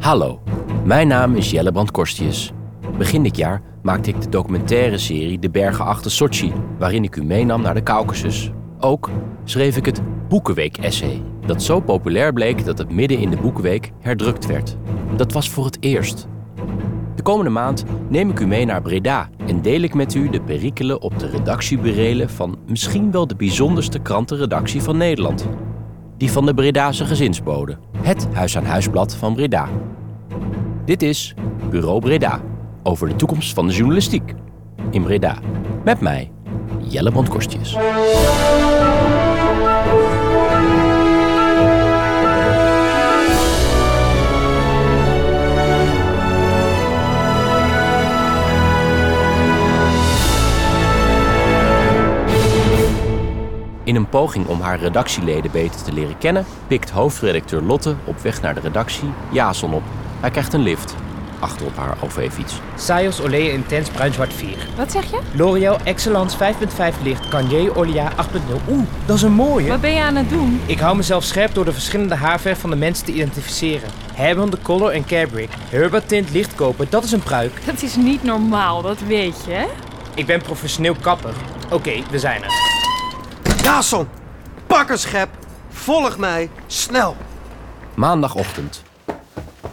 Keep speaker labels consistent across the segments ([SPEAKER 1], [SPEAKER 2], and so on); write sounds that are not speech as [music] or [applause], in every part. [SPEAKER 1] Hallo, mijn naam is Jelle Brandkorstius. Begin dit jaar maakte ik de documentaire serie De Bergen Achter Sochi, waarin ik u meenam naar de Caucasus. Ook schreef ik het Boekenweek-essay, dat zo populair bleek dat het midden in de Boekenweek herdrukt werd. Dat was voor het eerst. De komende maand neem ik u mee naar Breda en deel ik met u de perikelen op de redactieburelen van misschien wel de bijzonderste krantenredactie van Nederland. Die van de Bredase gezinsbode, het huis-aan-huisblad van Breda. Dit is Bureau Breda over de toekomst van de journalistiek in Breda. Met mij, Jelle Brandkorstjes. In een poging om haar redactieleden beter te leren kennen, pikt hoofdredacteur Lotte op weg naar de redactie Jason op. Hij krijgt een lift achter op haar OV-fiets.
[SPEAKER 2] Sajos Olé Intens Bruinzwart 4.
[SPEAKER 3] Wat zeg je?
[SPEAKER 2] L'Oreal Excellence 5.5 licht. Kanye Olia 8.0. Oeh, dat is een mooie.
[SPEAKER 3] Wat ben je aan het doen?
[SPEAKER 2] Ik hou mezelf scherp door de verschillende haarverf van de mensen te identificeren. Hebben de Color en Carebrick. Herbert Tint licht kopen, dat is een pruik.
[SPEAKER 3] Dat is niet normaal, dat weet je. hè?
[SPEAKER 2] Ik ben professioneel kapper. Oké, we zijn er.
[SPEAKER 4] Jason, pak een schep. Volg mij, snel.
[SPEAKER 1] Maandagochtend.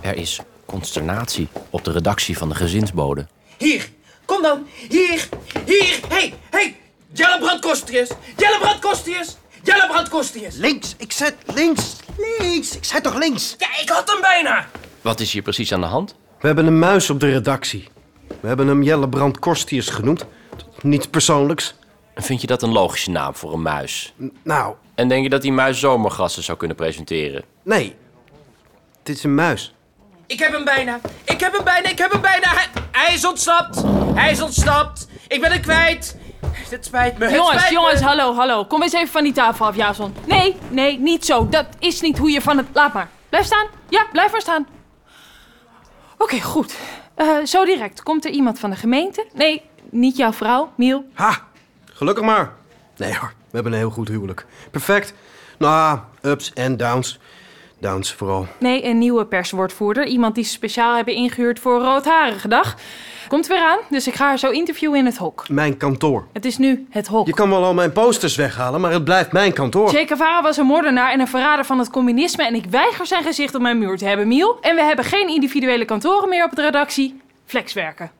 [SPEAKER 1] Er is consternatie op de redactie van de gezinsbode.
[SPEAKER 5] Hier, kom dan. Hier, hier. Hey, hey. Jelle Brandkostius. Jelle Brandkostius. Jelle Brandkostius.
[SPEAKER 4] Links, ik zet links, links. Ik zet toch links?
[SPEAKER 5] Ja, ik had hem bijna.
[SPEAKER 1] Wat is hier precies aan de hand?
[SPEAKER 4] We hebben een muis op de redactie. We hebben hem Jelle Brand Korstius genoemd. Niets persoonlijks.
[SPEAKER 1] En Vind je dat een logische naam voor een muis?
[SPEAKER 4] Nou,
[SPEAKER 1] En denk je dat die muis zomergassen zou kunnen presenteren?
[SPEAKER 4] nee. Dit is een muis.
[SPEAKER 5] Ik heb hem bijna. Ik heb hem bijna. Ik heb hem bijna. Hij, hij is ontsnapt. Hij is ontsnapt. Ik ben hem kwijt. Het spijt me. Het
[SPEAKER 3] Jongens,
[SPEAKER 5] spijt me.
[SPEAKER 3] jongens, hallo, hallo. Kom eens even van die tafel af, Jason. Nee, nee, niet zo. Dat is niet hoe je van het... Laat maar. Blijf staan. Ja, blijf maar staan. Oké, goed. Eh, zo direct. Komt er iemand van de gemeente? Nee, niet jouw vrouw, Miel.
[SPEAKER 4] Ha, gelukkig maar. Nee hoor, we hebben een heel goed huwelijk. Perfect. Nou, ups en downs. Downs vooral.
[SPEAKER 3] Nee, een nieuwe perswoordvoerder. Iemand die ze speciaal hebben ingehuurd voor roodharige dag. Komt weer aan, dus ik ga haar zo interviewen in het hok.
[SPEAKER 4] Mijn kantoor.
[SPEAKER 3] Het is nu het hok.
[SPEAKER 4] Je kan wel al mijn posters weghalen, maar het blijft mijn kantoor.
[SPEAKER 3] [laughs] Che Guevara was een moordenaar en een verrader van het communisme en ik weiger zijn gezicht op mijn muur te hebben, Miel. En we hebben geen individuele kantoren meer op de redactie. Flexwerken.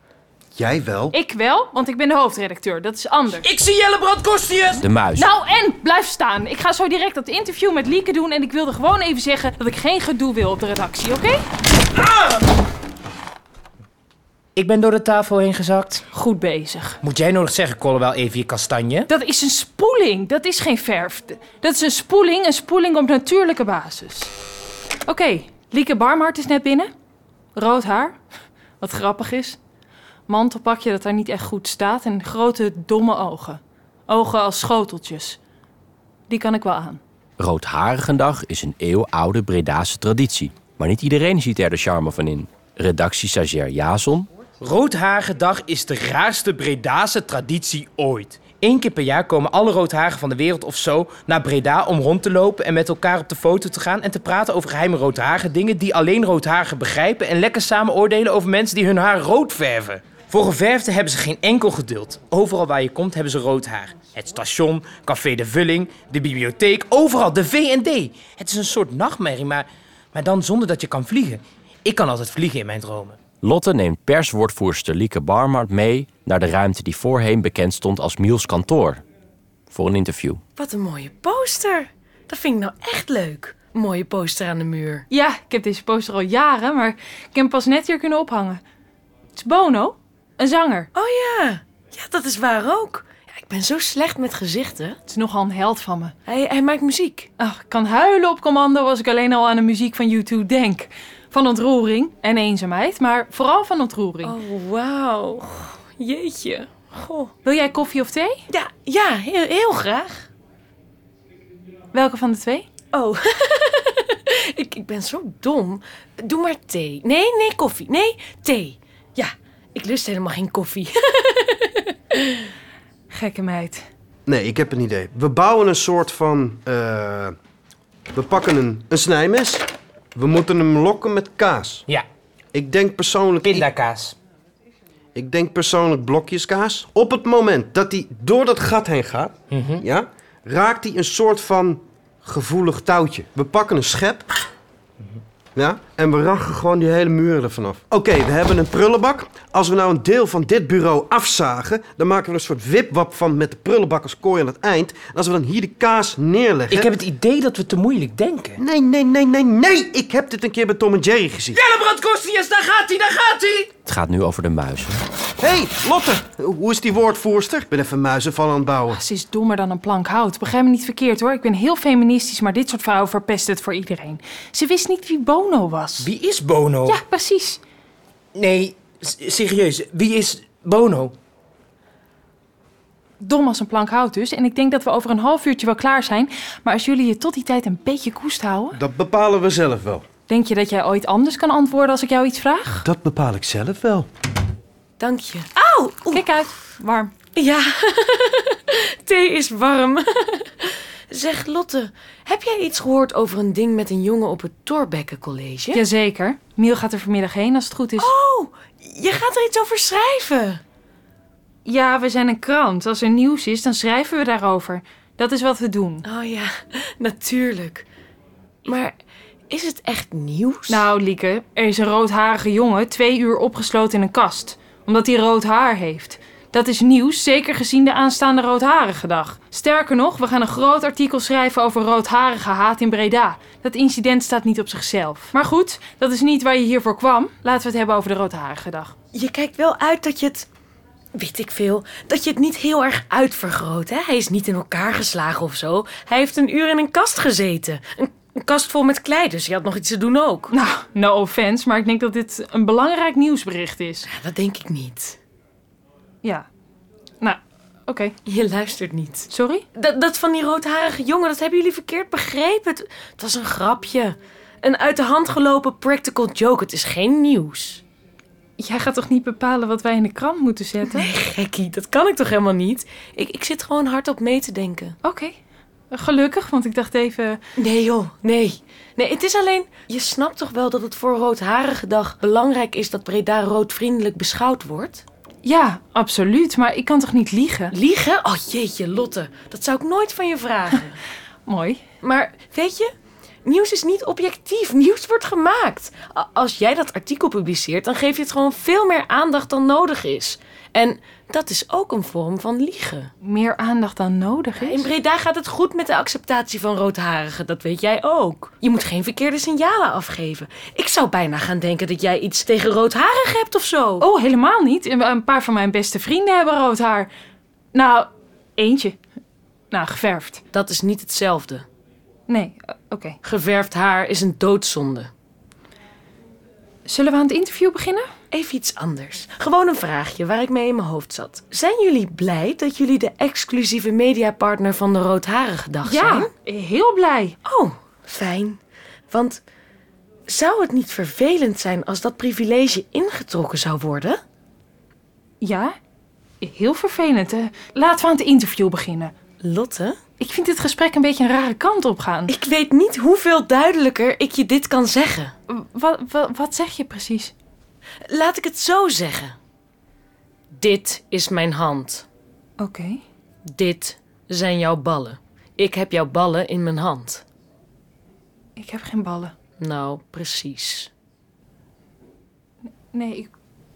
[SPEAKER 4] Jij wel?
[SPEAKER 3] Ik wel, want ik ben de hoofdredacteur. Dat is anders.
[SPEAKER 5] Ik zie Jelle Brandkostius.
[SPEAKER 1] De muis.
[SPEAKER 3] Nou en, blijf staan. Ik ga zo direct dat interview met Lieke doen en ik wilde gewoon even zeggen dat ik geen gedoe wil op de redactie, oké?
[SPEAKER 2] Ik ben door de tafel heen gezakt.
[SPEAKER 3] Goed bezig.
[SPEAKER 2] Moet jij nodig zeggen, Colwell, even je kastanje?
[SPEAKER 3] Dat is een spoeling. Dat is geen verf. D- Dat is een spoeling, een spoeling op natuurlijke basis. Oké, Lieke Barmhart is net binnen. Rood haar. Wat grappig is. Mantelpakje dat daar niet echt goed staat en grote domme ogen. Ogen als schoteltjes. Die kan ik wel aan.
[SPEAKER 1] Roodharigendag is een eeuwenoude Bredase traditie. Maar niet iedereen ziet er de charme van in. Redactie stagiair Jason
[SPEAKER 2] Roodhagendag is de raarste Bredase traditie ooit. Eén keer per jaar komen alle roodhagen van de wereld of zo naar Breda om rond te lopen en met elkaar op de foto te gaan en te praten over geheime roodhagen dingen die alleen roodhagen begrijpen en lekker samen oordelen over mensen die hun haar rood verven. Voor geverfden hebben ze geen enkel geduld. Overal waar je komt hebben ze rood haar. Het station, café De Vulling, de bibliotheek, overal de V&D. Het is een soort nachtmerrie, maar, maar dan zonder dat je kan vliegen. Ik kan altijd vliegen in mijn dromen.
[SPEAKER 1] Lotte neemt perswoordvoerster Lieke Barmart mee naar de ruimte die voorheen bekend stond als Miels kantoor. Voor een interview.
[SPEAKER 6] Wat een mooie poster. Dat vind ik nou echt leuk. Een mooie poster aan de muur.
[SPEAKER 3] Ja, ik heb deze poster al jaren, maar ik heb hem pas net hier kunnen ophangen. Het is Bono, een zanger.
[SPEAKER 6] Oh ja, ja dat is waar ook. Ja, ik ben zo slecht met gezichten.
[SPEAKER 3] Het is nogal een held van me.
[SPEAKER 6] Hij, hij maakt muziek.
[SPEAKER 3] Ach, Ah, ik kan huilen op commando als ik alleen al aan de muziek van U2 denk. Van ontroering en eenzaamheid, maar vooral van ontroering.
[SPEAKER 6] Oh, wauw. Jeetje. Goh.
[SPEAKER 3] Wil jij koffie of thee?
[SPEAKER 6] Ja, ja heel, heel graag.
[SPEAKER 3] Welke van de twee?
[SPEAKER 6] Oh, [laughs] ik, ik ben zo dom. Doe maar thee. Nee, nee, koffie. Nee, thee. Ja, ik lust helemaal geen koffie. [laughs]
[SPEAKER 3] Gekke meid.
[SPEAKER 4] Nee, ik heb een idee. We bouwen een soort van. eh, we pakken een, een snijmes. We moeten hem lokken met kaas.
[SPEAKER 2] Ja,
[SPEAKER 4] Ik denk persoonlijk...
[SPEAKER 2] pindakaas.
[SPEAKER 4] Ik denk persoonlijk blokjeskaas. Op het moment dat hij door dat gat heen gaat,
[SPEAKER 2] Mhm.
[SPEAKER 4] ja, raakt hij een soort van gevoelig touwtje. We pakken een schep ja, en we rachen gewoon die hele muren ervan af. Oké, we hebben een prullenbak. Als we nou een deel van dit bureau afzagen, dan maken we er een soort wipwap van met de prullenbak als kooi aan het eind. En als we dan hier de kaas neerleggen.
[SPEAKER 2] Ik heb het idee dat we te moeilijk denken.
[SPEAKER 4] Nee, nee, nee, nee, nee! Ik heb dit een keer bij Tom en Jerry gezien.
[SPEAKER 5] Hellebrand Kostius, daar gaat hij, daar gaat hij!
[SPEAKER 1] Het gaat nu over de muizen.
[SPEAKER 4] Hé, hey, Lotte! Hoe is die woordvoerster? Ik ben even muizenval aan het bouwen.
[SPEAKER 3] Ze is dommer dan een plank hout. Begrijp me niet verkeerd hoor. Ik ben heel feministisch, maar dit soort vrouwen verpest het voor iedereen. Ze wist niet wie Bono was.
[SPEAKER 2] Wie is Bono?
[SPEAKER 3] Ja, precies.
[SPEAKER 2] Nee, s- serieus, wie is Bono?
[SPEAKER 3] Dom als een plank hout dus. En ik denk dat we over een half uurtje wel klaar zijn. Maar als jullie je tot die tijd een beetje koest houden...
[SPEAKER 4] Dat bepalen we zelf wel.
[SPEAKER 3] Denk je dat jij ooit anders kan antwoorden als ik jou iets vraag?
[SPEAKER 4] Dat bepaal ik zelf wel.
[SPEAKER 6] Dank je. Auw! Oeh.
[SPEAKER 3] Kijk uit. Warm.
[SPEAKER 6] Ja, [laughs] thee is warm. [laughs] zeg Lotte, heb jij iets gehoord over een ding met een jongen op het Thorbecke College?
[SPEAKER 3] Jazeker. Miel gaat er vanmiddag heen als het goed is.
[SPEAKER 6] Oh, je gaat er iets over schrijven.
[SPEAKER 3] Ja, we zijn een krant. Als er nieuws is, dan schrijven we daarover. Dat is wat we doen.
[SPEAKER 6] Oh ja, natuurlijk. Maar is het echt nieuws?
[SPEAKER 3] Nou, Lieke, er is een roodharige jongen twee uur opgesloten in een kast. Omdat hij rood haar heeft. Dat is nieuws, zeker gezien de aanstaande roodharige dag. Sterker nog, we gaan een groot artikel schrijven over roodharige haat in Breda. Dat incident staat niet op zichzelf. Maar goed, dat is niet waar je hiervoor kwam. Laten we het hebben over de roodharige dag.
[SPEAKER 6] je kijkt wel uit dat je het. Weet ik veel. Dat je het niet heel erg uitvergroot, hè? Hij is niet in elkaar geslagen of zo. Hij heeft een uur in een kast gezeten. Een, een kast vol met klei, dus je had nog iets te doen ook.
[SPEAKER 3] Nou, no offense, maar ik denk dat dit een belangrijk nieuwsbericht is.
[SPEAKER 6] Ja, Nou, dat denk ik niet.
[SPEAKER 3] Ja. Nou, oké.
[SPEAKER 6] Je luistert niet.
[SPEAKER 3] Sorry?
[SPEAKER 6] Dat, dat van die roodharige jongen, dat hebben jullie verkeerd begrepen. Het, het was een grapje. Een uit de hand gelopen practical joke. Het is geen nieuws.
[SPEAKER 3] Jij gaat toch niet bepalen wat wij in de krant moeten zetten?
[SPEAKER 6] Gekkie, dat kan ik toch helemaal niet? Ik, ik zit gewoon hardop mee te denken.
[SPEAKER 3] Oké. Gelukkig, want ik dacht even...
[SPEAKER 6] Nee joh, nee. Nee, het is alleen... Je snapt toch wel dat het voor roodharige dag belangrijk is dat Breda roodvriendelijk beschouwd wordt?
[SPEAKER 3] Ja, absoluut, maar ik kan toch niet liegen?
[SPEAKER 6] Liegen? Oh jeetje, Lotte. Dat zou ik nooit van je vragen.
[SPEAKER 3] Mooi.
[SPEAKER 6] Maar weet je, nieuws is niet objectief. Nieuws wordt gemaakt. A- Als jij dat artikel publiceert, dan geef je het gewoon veel meer aandacht dan nodig is. En dat is ook een vorm van liegen.
[SPEAKER 3] Meer aandacht dan nodig
[SPEAKER 6] In
[SPEAKER 3] is.
[SPEAKER 6] Breda gaat het goed met de acceptatie van roodharigen, dat weet jij ook. Je moet geen verkeerde signalen afgeven. Ik zou bijna gaan denken dat jij iets tegen roodharigen hebt of zo.
[SPEAKER 3] Oh, helemaal niet. Een- Een paar van mijn beste vrienden hebben rood haar. Nou, eentje. Nou, geverfd.
[SPEAKER 6] dat is niet hetzelfde.
[SPEAKER 3] Nee, eh, oké.
[SPEAKER 6] Geverfd haar is een doodzonde.
[SPEAKER 3] Zullen we aan het interview beginnen?
[SPEAKER 6] Even iets anders. Gewoon een vraagje waar ik mee in mijn hoofd zat. Zijn jullie blij dat jullie de exclusieve mediapartner van de Roodharige Dag zijn?
[SPEAKER 3] heel blij.
[SPEAKER 6] Oh, fijn. Want zou het niet vervelend zijn als dat privilege ingetrokken zou worden?
[SPEAKER 3] Ja? Heel vervelend. hè. Laten we aan het interview beginnen.
[SPEAKER 6] Lotte?
[SPEAKER 3] Ik vind dit gesprek een beetje een rare kant op gaan.
[SPEAKER 6] Ik weet niet hoeveel duidelijker ik je dit kan zeggen.
[SPEAKER 3] Wat, wat, wat zeg je precies?
[SPEAKER 6] Laat ik het zo zeggen. Dit is mijn hand.
[SPEAKER 3] Oké.
[SPEAKER 6] Dit zijn jouw ballen. Ik heb jouw ballen in mijn hand.
[SPEAKER 3] Ik heb geen ballen.
[SPEAKER 6] Nou, precies.
[SPEAKER 3] Nee, ik,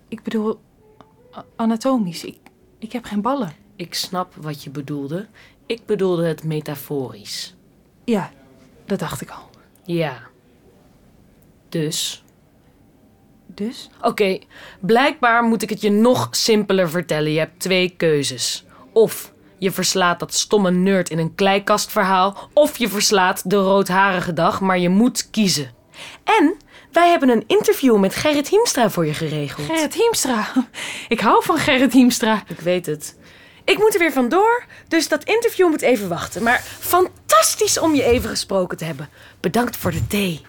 [SPEAKER 3] ik bedoel a- anatomisch. Ik, ik heb geen ballen.
[SPEAKER 6] Ik snap wat je bedoelde. Ik bedoelde het metaforisch.
[SPEAKER 3] Ja, dat dacht ik al.
[SPEAKER 6] Ja. Dus.
[SPEAKER 3] Dus?
[SPEAKER 6] Oké, blijkbaar moet ik het je nog simpeler vertellen. Je hebt twee keuzes. Of je verslaat dat stomme nerd in een kleikastverhaal. Of je verslaat de roodharige dag, maar je moet kiezen. En wij hebben een interview met Gerrit Hiemstra voor je geregeld.
[SPEAKER 3] Gerrit Hiemstra. Ik hou van Gerrit Hiemstra.
[SPEAKER 6] Ik weet het. Ik moet er weer vandoor, dus dat interview moet even wachten. Maar fantastisch om je even gesproken te hebben. Bedankt voor de thee.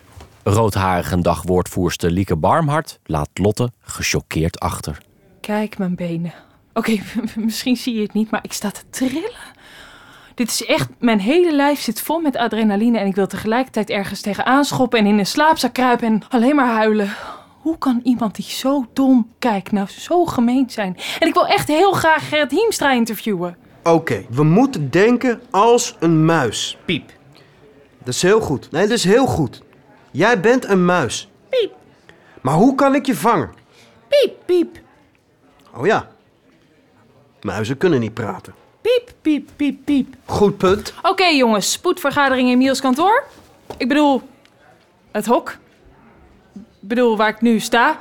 [SPEAKER 1] Roodharige dagwoordvoerster Lieke Barmhart laat Lotte gechoqueerd achter.
[SPEAKER 3] [laughs] Kijk mijn benen. Oké, misschien zie je het niet, maar ik sta te trillen. Dit is echt, mijn hele lijf zit vol met adrenaline en ik wil tegelijkertijd ergens tegenaan schoppen en in een slaapzak kruipen en alleen maar huilen. Hoe kan iemand die zo dom kijkt nou zo gemeen zijn? En ik wil echt heel graag Gerrit Hiemstra interviewen.
[SPEAKER 4] Oké, we moeten denken als een muis.
[SPEAKER 2] Piep.
[SPEAKER 4] Dat is heel goed. Nee, dat is heel goed. Jij bent een muis.
[SPEAKER 5] Piep.
[SPEAKER 4] Maar hoe kan ik je vangen?
[SPEAKER 5] Piep, piep.
[SPEAKER 4] Oh ja. Muizen kunnen niet praten.
[SPEAKER 5] Piep, piep, piep, piep.
[SPEAKER 4] Goed punt.
[SPEAKER 3] Oké jongens, spoedvergadering in Miels kantoor. Ik bedoel, het hok. Ik bedoel, waar ik nu sta.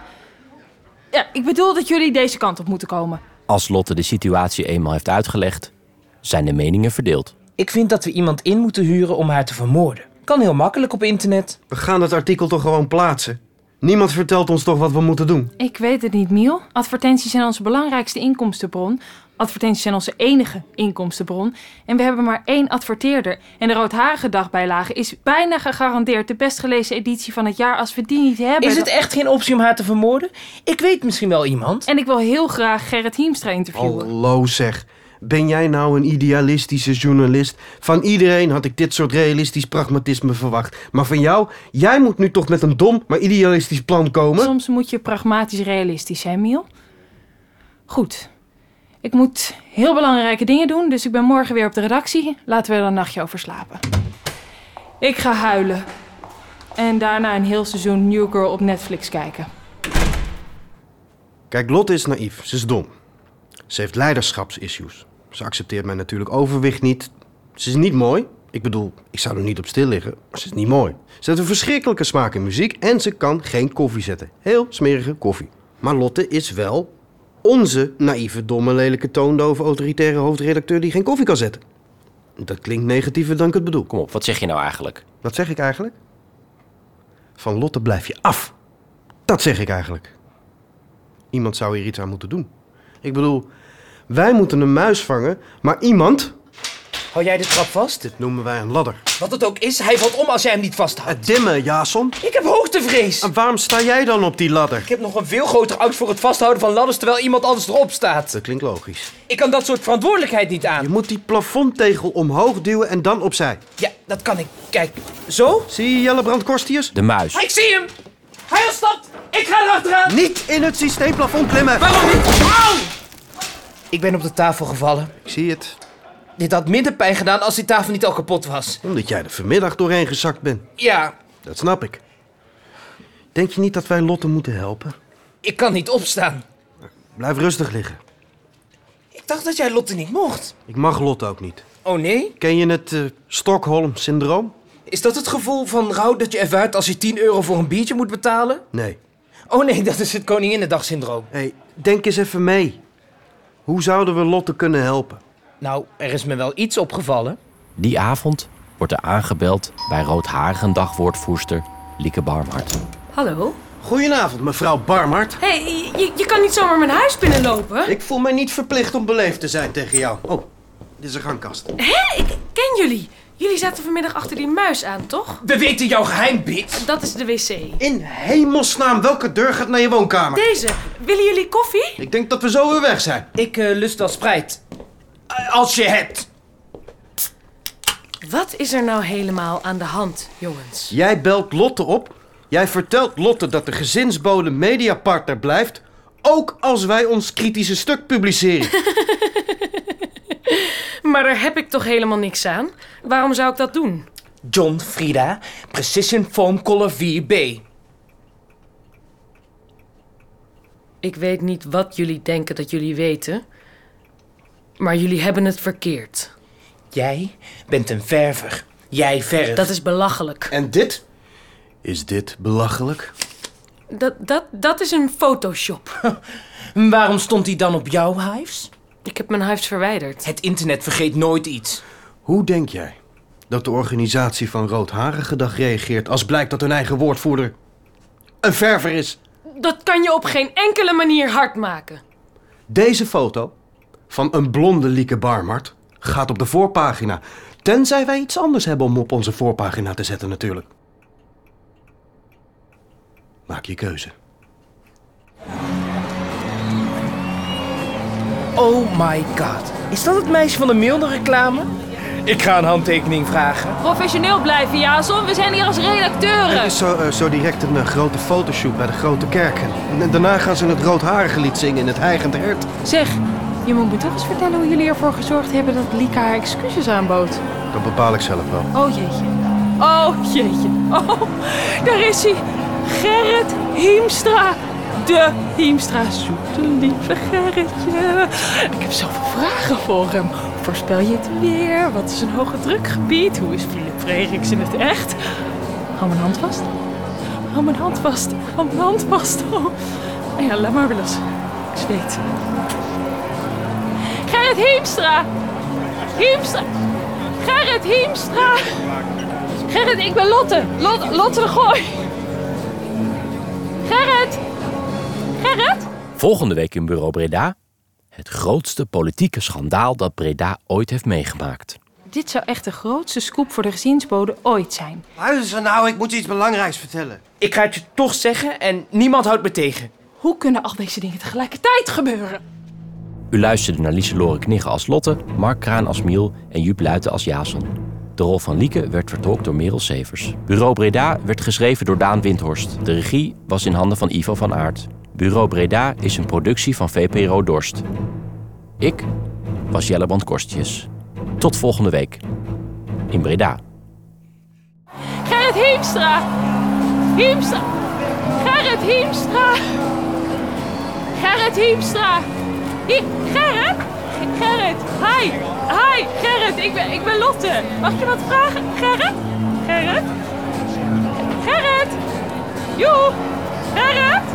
[SPEAKER 3] Ja, ik bedoel dat jullie deze kant op moeten komen.
[SPEAKER 1] Als Lotte de situatie eenmaal heeft uitgelegd, zijn de meningen verdeeld.
[SPEAKER 2] Ik vind dat we iemand in moeten huren om haar te vermoorden. Kan heel makkelijk op internet.
[SPEAKER 4] We gaan dat artikel toch gewoon plaatsen? Niemand vertelt ons toch wat we moeten doen?
[SPEAKER 3] Ik weet het niet, Miel. Advertenties zijn onze belangrijkste inkomstenbron. Advertenties zijn onze enige inkomstenbron. En we hebben maar één adverteerder. En de Roodharige Dagbijlage is bijna gegarandeerd de best gelezen editie van het jaar als we die niet hebben.
[SPEAKER 2] Is het echt geen optie om haar te vermoorden? Ik weet misschien wel iemand.
[SPEAKER 3] En ik wil heel graag Gerrit Hiemstra
[SPEAKER 2] Oh,
[SPEAKER 3] interviewen.
[SPEAKER 4] Hallo zeg. Ben jij nou een idealistische journalist? Van iedereen had ik dit soort realistisch pragmatisme verwacht. Maar van jou, jij moet nu toch met een dom, maar idealistisch plan komen?
[SPEAKER 3] Soms moet je pragmatisch realistisch zijn, Miel. Goed. Ik moet heel belangrijke dingen doen, dus ik ben morgen weer op de redactie. Laten we er een nachtje over slapen. Ik ga huilen. En daarna een heel seizoen New Girl op Netflix kijken.
[SPEAKER 4] Kijk, Lotte is naïef. Ze is dom. Ze heeft leiderschapsissues. Ze accepteert mij natuurlijk overwicht niet. Ze is niet mooi. Ik bedoel, ik zou er niet op stil liggen, maar ze is niet mooi. Ze heeft een verschrikkelijke smaak in muziek en ze kan geen koffie zetten. Heel smerige koffie. Maar Lotte is wel onze naïeve, domme, lelijke, toondove, autoritaire hoofdredacteur die geen koffie kan zetten. Dat klinkt negatiever dan ik het bedoel.
[SPEAKER 1] Kom op, wat zeg je nou eigenlijk?
[SPEAKER 4] Wat zeg ik eigenlijk? Van Lotte blijf je af. Dat zeg ik eigenlijk. Iemand zou hier iets aan moeten doen. Ik bedoel, wij moeten een muis vangen, maar iemand,
[SPEAKER 2] Hou jij de trap vast?
[SPEAKER 4] dit noemen wij een ladder.
[SPEAKER 2] Wat het ook is, hij valt om als jij hem niet vasthoudt.
[SPEAKER 4] Het dimme, Jason.
[SPEAKER 2] Ik heb hoogtevrees.
[SPEAKER 4] En waarom sta jij dan op die ladder?
[SPEAKER 2] Ik heb nog een veel grotere angst voor het vasthouden van ladders terwijl iemand anders erop staat.
[SPEAKER 4] Dat klinkt logisch.
[SPEAKER 2] Ik kan dat soort verantwoordelijkheid niet
[SPEAKER 4] Je
[SPEAKER 2] aan.
[SPEAKER 4] moet die plafondtegel omhoog duwen en dan opzij.
[SPEAKER 2] Ja, dat kan ik. Kijk, zo?
[SPEAKER 4] Zie je Jellebrand Korstiers?
[SPEAKER 1] De muis.
[SPEAKER 5] Ik zie hem. Hij ontsnapt. Ik ga erachteraan.
[SPEAKER 4] Niet in het systeemplafond klimmen!
[SPEAKER 5] Waarom niet? Au!
[SPEAKER 2] Ik ben op de tafel gevallen.
[SPEAKER 4] Ik zie het,
[SPEAKER 2] Dit had minder pijn gedaan als die tafel niet al kapot was.
[SPEAKER 4] omdat jij er vanmiddag doorheen gezakt bent.
[SPEAKER 2] Ja,
[SPEAKER 4] Dat snap ik. Denk je niet dat wij Lotte moeten helpen?
[SPEAKER 2] ik kan niet opstaan.
[SPEAKER 4] Blijf rustig liggen.
[SPEAKER 2] Ik dacht dat jij Lotte niet mocht.
[SPEAKER 4] Ik mag Lotte ook niet.
[SPEAKER 2] Oh nee?
[SPEAKER 4] Ken je het eh, Stockholm-syndroom?
[SPEAKER 2] Is dat het gevoel van rouw dat je ervaart als je 10 euro voor een biertje moet betalen?
[SPEAKER 4] Nee.
[SPEAKER 2] Oh nee, dat is het Koninginnedag-syndroom.
[SPEAKER 4] hey, denk eens even mee. Hoe zouden we Lotte kunnen helpen?
[SPEAKER 2] Nou, er is me wel iets opgevallen.
[SPEAKER 1] Die avond wordt er aangebeld bij roodharige dagwoordvoerster Lieke Barmhart.
[SPEAKER 6] Hallo?
[SPEAKER 4] Goedenavond, mevrouw Barmhart.
[SPEAKER 6] Hé, hey, je, je kan niet zomaar mijn huis binnenlopen.
[SPEAKER 4] Ik voel mij niet verplicht om beleefd te zijn tegen jou. Oh, dit is een gangkast.
[SPEAKER 6] Ken jullie? Jullie zaten vanmiddag achter die muis aan, toch?
[SPEAKER 2] We weten jouw geheim, bitch.
[SPEAKER 6] Dat is de wc.
[SPEAKER 4] In hemelsnaam, welke deur gaat naar je woonkamer?
[SPEAKER 6] Deze. Willen jullie koffie?
[SPEAKER 4] Ik denk dat we zo weer weg zijn.
[SPEAKER 2] Ik eh, lust wel spijt. eh, als je hebt.
[SPEAKER 6] Wat is er nou helemaal aan de hand, jongens?
[SPEAKER 4] Jij belt Lotte op. Jij vertelt Lotte dat de gezinsbode mediapartner blijft. Ook als wij ons kritische stuk publiceren.
[SPEAKER 6] Maar daar heb ik toch helemaal niks aan? Waarom zou ik dat doen?
[SPEAKER 2] John Frida, Precision Foam Color 4B.
[SPEAKER 6] Ik weet niet wat jullie denken dat jullie weten. Maar jullie hebben het verkeerd.
[SPEAKER 2] Jij bent een verver. Jij verft.
[SPEAKER 6] Dat is belachelijk.
[SPEAKER 4] En dit? Is dit belachelijk?
[SPEAKER 6] Dat, dat, dat is een Photoshop.
[SPEAKER 2] Waarom stond hij dan op jouw hives?
[SPEAKER 6] Ik heb mijn huis verwijderd.
[SPEAKER 2] Het internet vergeet nooit iets.
[SPEAKER 4] Hoe denk jij dat de organisatie van Roodharige Dag reageert als blijkt dat hun eigen woordvoerder een verver is?
[SPEAKER 6] Dat kan je op geen enkele manier hard maken.
[SPEAKER 4] Deze foto van een blonde Lieke Barmart gaat op de voorpagina. Tenzij wij iets anders hebben om op onze voorpagina te zetten natuurlijk. Maak je keuze.
[SPEAKER 2] Oh my god. Is dat het meisje van de Milner reclame? Ik ga een handtekening vragen.
[SPEAKER 3] Professioneel blijven, Jason. We zijn hier als redacteuren.
[SPEAKER 4] Er is zo, eh, zo direct een eh, grote fotoshoot bij de grote kerk. En daarna gaan ze het roodharige lied zingen in het heigend hert.
[SPEAKER 3] Zeg, je moet me toch eens vertellen hoe jullie ervoor gezorgd hebben dat Lika haar excuses aanbood.
[SPEAKER 4] Dat bepaal ik zelf wel.
[SPEAKER 3] Oh jeetje. Oh jeetje. Oh, daar is hij. Gerrit Hiemstra. De Hiemstra. Zoete lieve Gerritje. Ik heb zoveel vragen voor hem. Voorspel je het weer? Wat is een hoge drukgebied? Hoe is Philip Frederiks in het echt? Hou mijn hand vast. Hou mijn hand vast. Hou mijn hand vast. Oh. Nou Ja, laat maar wel eens. Ik zweet. Gerrit Hiemstra. Hiemstra. Gerrit Hiemstra. Gerrit, ik ben Lotte. Lot, Lotte de Gooi. Gerrit. Gerrit.
[SPEAKER 1] Volgende week in Bureau Breda. Het grootste politieke schandaal dat Breda ooit heeft meegemaakt.
[SPEAKER 3] Dit zou echt de grootste scoop voor de gezinsbode ooit zijn.
[SPEAKER 4] Luister nou, ik moet iets belangrijks vertellen.
[SPEAKER 2] Ik ga het je toch zeggen en niemand houdt me tegen.
[SPEAKER 3] Hoe kunnen al deze dingen tegelijkertijd gebeuren?
[SPEAKER 1] U luisterde naar Lieselore Knigge als Lotte, Mark Kraan als Miel en Joep Luiten als Jason. De rol van Lieke werd vertolkt door Merel Severs. Bureau Breda werd geschreven door Daan Windhorst. De regie was in handen van Ivo van Aert. Bureau Breda is een productie van VPRO Dorst. Ik was Jelleband Korstjes. Tot volgende week. In Breda.
[SPEAKER 3] Gerrit Hiemstra. Hiemstra. Gerrit Hiemstra. Gerrit Hiemstra. Hi- Gerrit? Gerrit, hi. Hi, Gerrit. Ik ben, ik ben Lotte. Mag ik je wat vragen? Gerrit? Gerrit? Gerrit? Joe. Gerrit?